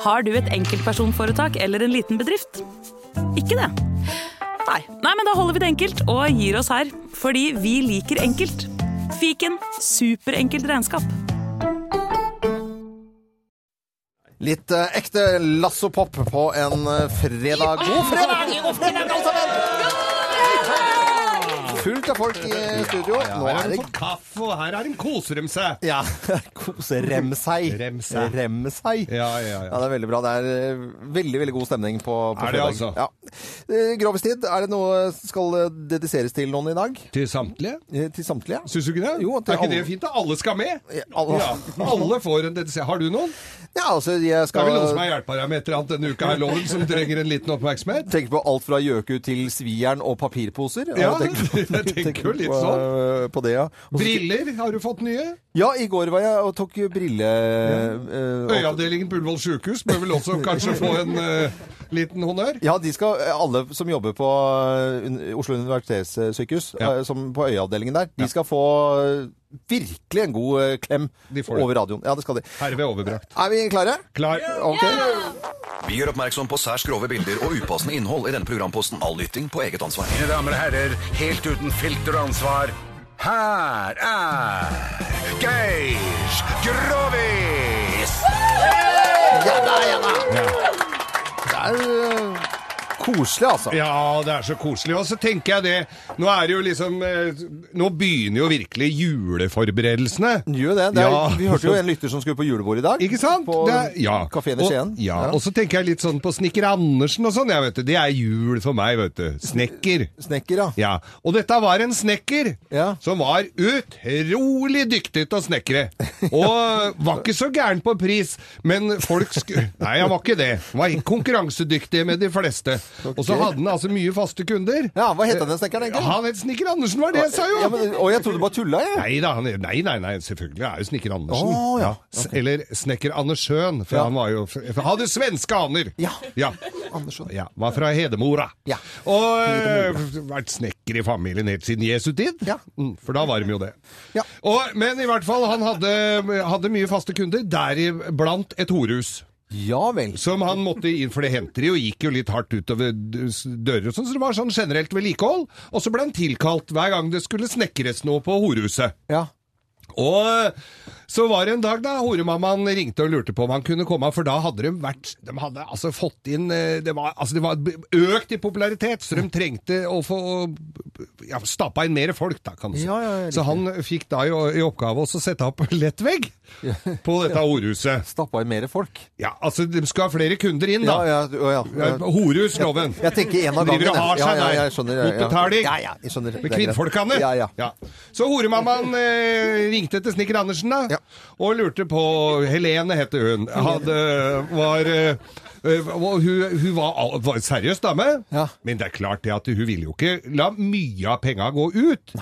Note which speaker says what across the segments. Speaker 1: Har du et enkeltpersonforetak eller en liten bedrift? Ikke det? Nei. Nei, men da holder vi det enkelt og gir oss her. Fordi vi liker enkelt. Fiken superenkelt regnskap.
Speaker 2: Litt eh, ekte lassopop på en eh, fredag. God fredag! God fredag, alle sammen! Fullt av folk i studio. Nå
Speaker 3: Her
Speaker 2: er
Speaker 3: er
Speaker 2: det sånn.
Speaker 3: en kopp kaffe, og her er en koseremse.
Speaker 2: Ja. Kose rem seg.
Speaker 3: Rem seg.
Speaker 2: Rem seg.
Speaker 3: Ja, ja, ja.
Speaker 2: det er veldig bra. Det er eh, veldig veldig god stemning på, på
Speaker 3: Er det
Speaker 2: fredag.
Speaker 3: altså?
Speaker 2: Ja. Eh, Grovestid, er det noe skal eh, dediseres til noen i dag?
Speaker 3: Til samtlige.
Speaker 2: Eh, Til samtlige?
Speaker 3: Syns du ikke det?
Speaker 2: Jo, at det
Speaker 3: er ikke
Speaker 2: alle-
Speaker 3: det fint? da? Alle skal med.
Speaker 2: Ja, alle-
Speaker 3: alle får en DTC. Har du noen?
Speaker 2: Ja, altså, jeg
Speaker 3: Det er
Speaker 2: skal
Speaker 3: vel noen som har hjulpet deg med et eller annet denne uka her, Loven, som trenger en liten oppmerksomhet?
Speaker 2: tenke på alt fra gjøku til svieren og papirposer.
Speaker 3: Ja,
Speaker 2: Jeg tenker-
Speaker 3: jeg tenker jo litt
Speaker 2: på,
Speaker 3: sånn.
Speaker 2: eh, På det, ja. Og så-
Speaker 3: Briller, har du fått nye?
Speaker 2: Ja, i går var jeg og tok brille... eh, og-
Speaker 3: Øyeavdelingen på Ullevål sjukehus bør vel også kanskje få en eh, liten honnør?
Speaker 2: Ja, de skal, alle som jobber på eh, un- Oslo universitetssykehus,
Speaker 3: Ja.
Speaker 2: eh, som på øyeavdelingen der, de skal få eh, virkelig en god eh, klem
Speaker 3: De får det.
Speaker 2: over radioen. Ja, det skal de.
Speaker 3: Herved overbrakt.
Speaker 2: Er vi klare?
Speaker 3: Klar.
Speaker 2: Ok.
Speaker 4: Vi gjør oppmerksom på særs grove bilder og upassende innhold i denne programposten. All lytting på eget ansvar.
Speaker 5: Mine damer og herrer, helt uten filter og ansvar, her er Geir Grovis!
Speaker 2: Ja da, ja da! Det er eh, koselig, altså.
Speaker 3: Ja, det er så koselig. Og så tenker jeg det Nå er det jo liksom eh, Nå begynner jo virkelig juleforberedelsene.
Speaker 2: Gjør det. det er,
Speaker 3: Ja.
Speaker 2: Vi hørte jo en lytter som skulle på julebord i dag.
Speaker 3: Ikke sant?
Speaker 2: På
Speaker 3: Det er- ja.
Speaker 2: kafeen i Skien.
Speaker 3: Og, ja. og så tenker jeg litt sånn på Snekker Andersen og sånn. Ja, vet du, det er jul for meg, vet du. Snekker.
Speaker 2: Snekker, ja.
Speaker 3: Ja. Og dette var en snekker
Speaker 2: Ja.
Speaker 3: som var utrolig dyktig til å snekre. Og var ikke så gæren på pris, men folk skulle Nei, han var ikke det. Han Var konkurransedyktig med de fleste. Og så hadde han altså mye faste kunder.
Speaker 2: Ja, hva heter den snekkeren, egentlig?
Speaker 3: Han het Snekker Andersen, var det jeg sa jo!
Speaker 2: Ja, men, og jeg trodde du bare tulla, jeg.
Speaker 3: Nei da, han er, nei, nei, nei, selvfølgelig er jo snekker Andersen.
Speaker 2: Å, ja.
Speaker 3: S- Eller snekker Andersjøen, for
Speaker 2: Ja.
Speaker 3: han var jo f- f- Hadde svenske aner!
Speaker 2: Ja.
Speaker 3: ja.
Speaker 2: Andersson.
Speaker 3: Ja, Var fra Hedemora.
Speaker 2: Ja.
Speaker 3: Og eh, vært snekker i familien helt siden Jesu tid.
Speaker 2: Ja.
Speaker 3: Mm, for da var de jo det.
Speaker 2: Ja.
Speaker 3: Og, men i hvert fall, han hadde, hadde mye faste kunder, deriblant et horehus.
Speaker 2: Ja vel.
Speaker 3: Som han måtte inn, for det henter de, og gikk jo litt hardt utover d- s- dører og sånn, så det var sånn generelt vedlikehold. Og så ble han tilkalt hver gang det skulle snekres noe på horehuset.
Speaker 2: Ja.
Speaker 3: Og eh, så var det en dag da horemammaen ringte og lurte på om han kunne komme, for da hadde de vært De hadde altså fått inn eh, Det var, altså det var b- økt i popularitet, så de trengte å få ja, stappa inn mer folk, da, kan du si.
Speaker 2: Ja, ja, ja, riktig.
Speaker 3: så han fikk da i, i oppgave også å sette opp lettvegg på dette horhuset.
Speaker 2: Stappa i mer folk.
Speaker 3: Ja, altså de skal ha flere kunder inn, da. Eh,
Speaker 2: Ja, ja, å, ja.
Speaker 3: Ja, Horehusloven.
Speaker 2: Jeg tenker en av gangen.
Speaker 3: Driver og
Speaker 2: jeg.
Speaker 3: har seg
Speaker 2: ja, ja,
Speaker 3: der.
Speaker 2: jeg skjønner. ja, ja.
Speaker 3: Motbetaling.
Speaker 2: Ja, ja, jeg skjønner.
Speaker 3: Med
Speaker 2: Det er greit.
Speaker 3: kvinnfolkene.
Speaker 2: Ja, ja.
Speaker 3: Så horemammaen eh, ringte til snekker Andersen da,
Speaker 2: Ja.
Speaker 3: og lurte på Helene het hun. Hadde, var, eh, eh, og hun, hun var, al- var en seriøs dame,
Speaker 2: Ja.
Speaker 3: men det er klart det at hun ville jo ikke la mye av penga gå ut.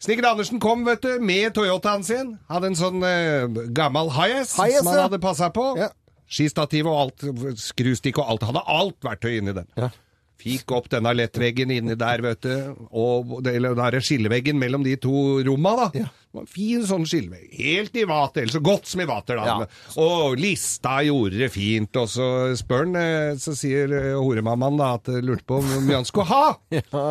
Speaker 3: Snekker Andersen kom vet du, med Toyotaen sin. Hadde en sånn eh, gammel Hiace
Speaker 2: Hiace,
Speaker 3: som han
Speaker 2: ja.
Speaker 3: hadde passa på.
Speaker 2: Ja.
Speaker 3: Skistativ og alt, skrustikk og alt. Hadde alt verktøy inni den.
Speaker 2: Ja.
Speaker 3: Fikk opp denne lettveggen inni der, vet du. Og det- eller den derre skilleveggen mellom de to romma, da.
Speaker 2: Ja.
Speaker 3: Det var en fin sånn skillevegg. Helt i vater, eller så godt som i vater, da.
Speaker 2: Ja.
Speaker 3: Og lista gjorde det fint, og så spør han, eh, så sier eh, horemammaen da at eh, lurte på hvor mye han skulle ha.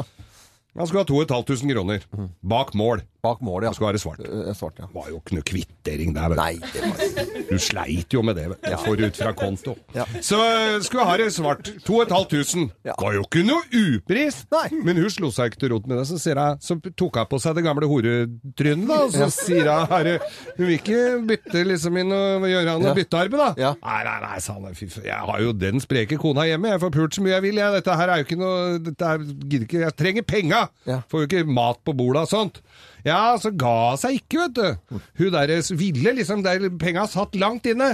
Speaker 3: Han skulle ha 2500 kroner. Bak mål.
Speaker 2: Bak målet, ja.
Speaker 3: Han skulle være svart. Det
Speaker 2: Mm. Eh, Svart, ja.
Speaker 3: var jo ikke noe kvittering der, vet du.
Speaker 2: Nei, det var
Speaker 3: Du sleit jo med det, vet du. Får ut fra konto.
Speaker 2: Ja.
Speaker 3: Så eh, skulle ha det svart. 2500.
Speaker 2: Ja.
Speaker 3: Var jo ikke noe upris!
Speaker 2: Nei.
Speaker 3: Men hun slo seg ikke til rot med det. Så, sier jeg, så tok hun på seg det gamle horetrynet, da. Og så sier hun herre, hun vil ikke bytte liksom inn og gjøre han
Speaker 2: Ja.
Speaker 3: noe byttearbeid, da.
Speaker 2: Ja.
Speaker 3: Nei, nei, nei, sa han. Fy faen, jeg har jo den spreke kona hjemme. Jeg får pult så mye jeg vil, jeg. Dette her er jo ikke noe Dette her gidder ikke Jeg trenger penga!
Speaker 2: Ja.
Speaker 3: Får jo ikke mat på bordet og sånt. Ja, så ga hun seg ikke, vet du. Hun der ville liksom der penga satt langt inne.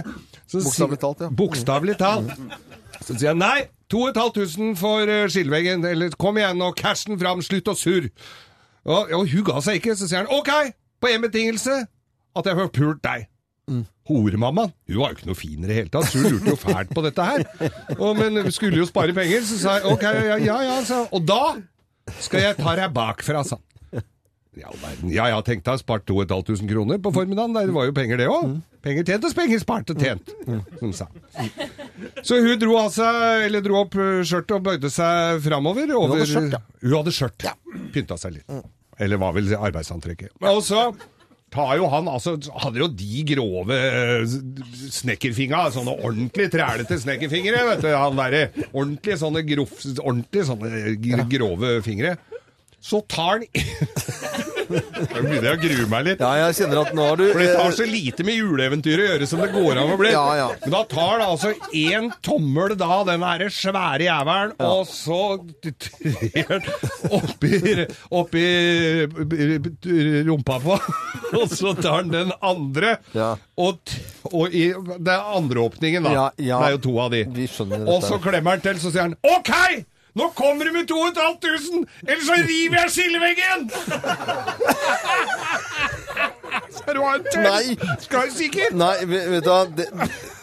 Speaker 3: Så sier-
Speaker 2: Bokstavelig talt, ja.
Speaker 3: Bokstavelig talt. Så sier jeg nei, 2500 for eh, skilleveggen. Eller kom igjen nå, cash den fram, slutt å surre. Og, og hun ga seg ikke, så sier han OK, på én betingelse, at jeg får pult deg.
Speaker 2: Mm.
Speaker 3: Horemammaen, hun var jo ikke noe fin i det hele tatt, så hun lurte jo fælt på dette her. Og, men hun skulle jo spare penger, så sa jeg OK, ja ja, ja sa jeg. Og da skal jeg ta deg bakfra, sa han. I all verden. Ja ja, tenkte jeg, spart 2500
Speaker 2: Mm.
Speaker 3: kroner på formiddagen, det var jo penger det òg. Penger tjent og penger spart og tjent, som sa. Så hun dro av seg, eller dro opp eh, skjørtet og bøyde seg framover. Over,
Speaker 2: hadde skjørt, ja. Mm.
Speaker 3: Hun hadde skjørt. Pynta seg litt. Eller var vel arbeidsantrekket. Og så tar jo han, altså, hadde jo de grove eh, snekkerfingra, sånne ordentlig trælete snekkerfingre, vet du, han derre. Ordentlig sånne, grof, ordentlig sånne eh, gr- grove fingre. Så tar han Nå begynner jeg å grue meg litt.
Speaker 2: Ja, jeg kjenner at nå har du
Speaker 3: For det tar
Speaker 2: eh,
Speaker 3: så lite med juleeventyr å gjøre som det går an å bli.
Speaker 2: Ja, ja.
Speaker 3: Men da tar det altså én tommel, da, den derre svære jævelen, og så trer den oppi, oppi rumpa på Og så tar han den andre,
Speaker 2: Ja.
Speaker 3: og, t- og i, det er andre åpningen, da.
Speaker 2: Ja, ja.
Speaker 3: Det er jo to av de.
Speaker 2: Vi skjønner dette.
Speaker 3: Og så klemmer han til, så sier han OK! Nå kommer du med 2500, ellers så river jeg skilleveggen! Skal du ha en til?
Speaker 2: Nei.
Speaker 3: Skal du sikker?
Speaker 2: Nei, vet vet du hva det,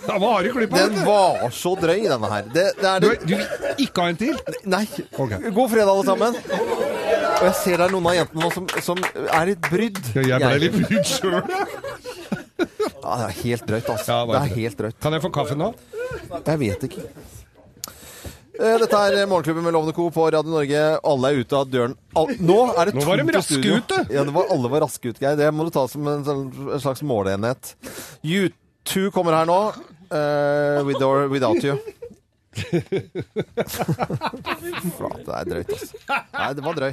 Speaker 3: Da må Are klippe
Speaker 2: Den
Speaker 3: av.
Speaker 2: var så drøy, denne her. Det, det er
Speaker 3: Du,
Speaker 2: det
Speaker 3: du vil ikke ha en til?
Speaker 2: Nei.
Speaker 3: Ok.
Speaker 2: God fredag, alle sammen. Og jeg ser det er noen av jentene nå som, som er litt brydd.
Speaker 3: Jeg ble litt brydd sjøl, jeg.
Speaker 2: Ja, det er helt drøyt, altså.
Speaker 3: Ja,
Speaker 2: det
Speaker 3: bare
Speaker 2: er
Speaker 3: drøyt.
Speaker 2: helt drøyt.
Speaker 3: Kan jeg få kaffe nå?
Speaker 2: Jeg vet ikke. Eh, Dette er Morgenklubben med Lovende Co. på Radio Norge. Alle er ute av døren. Al Nå er det
Speaker 3: Nå
Speaker 2: tomt
Speaker 3: var de
Speaker 2: i
Speaker 3: raske
Speaker 2: studio.
Speaker 3: ute.
Speaker 2: Ja, det var, alle var raske ut, Geir. Det må du ta som en, sånn- en slags måleenhet. U2 kommer her nå. eh, with or without you. Flate, det er drøyt, altså. Nei, det var drøy.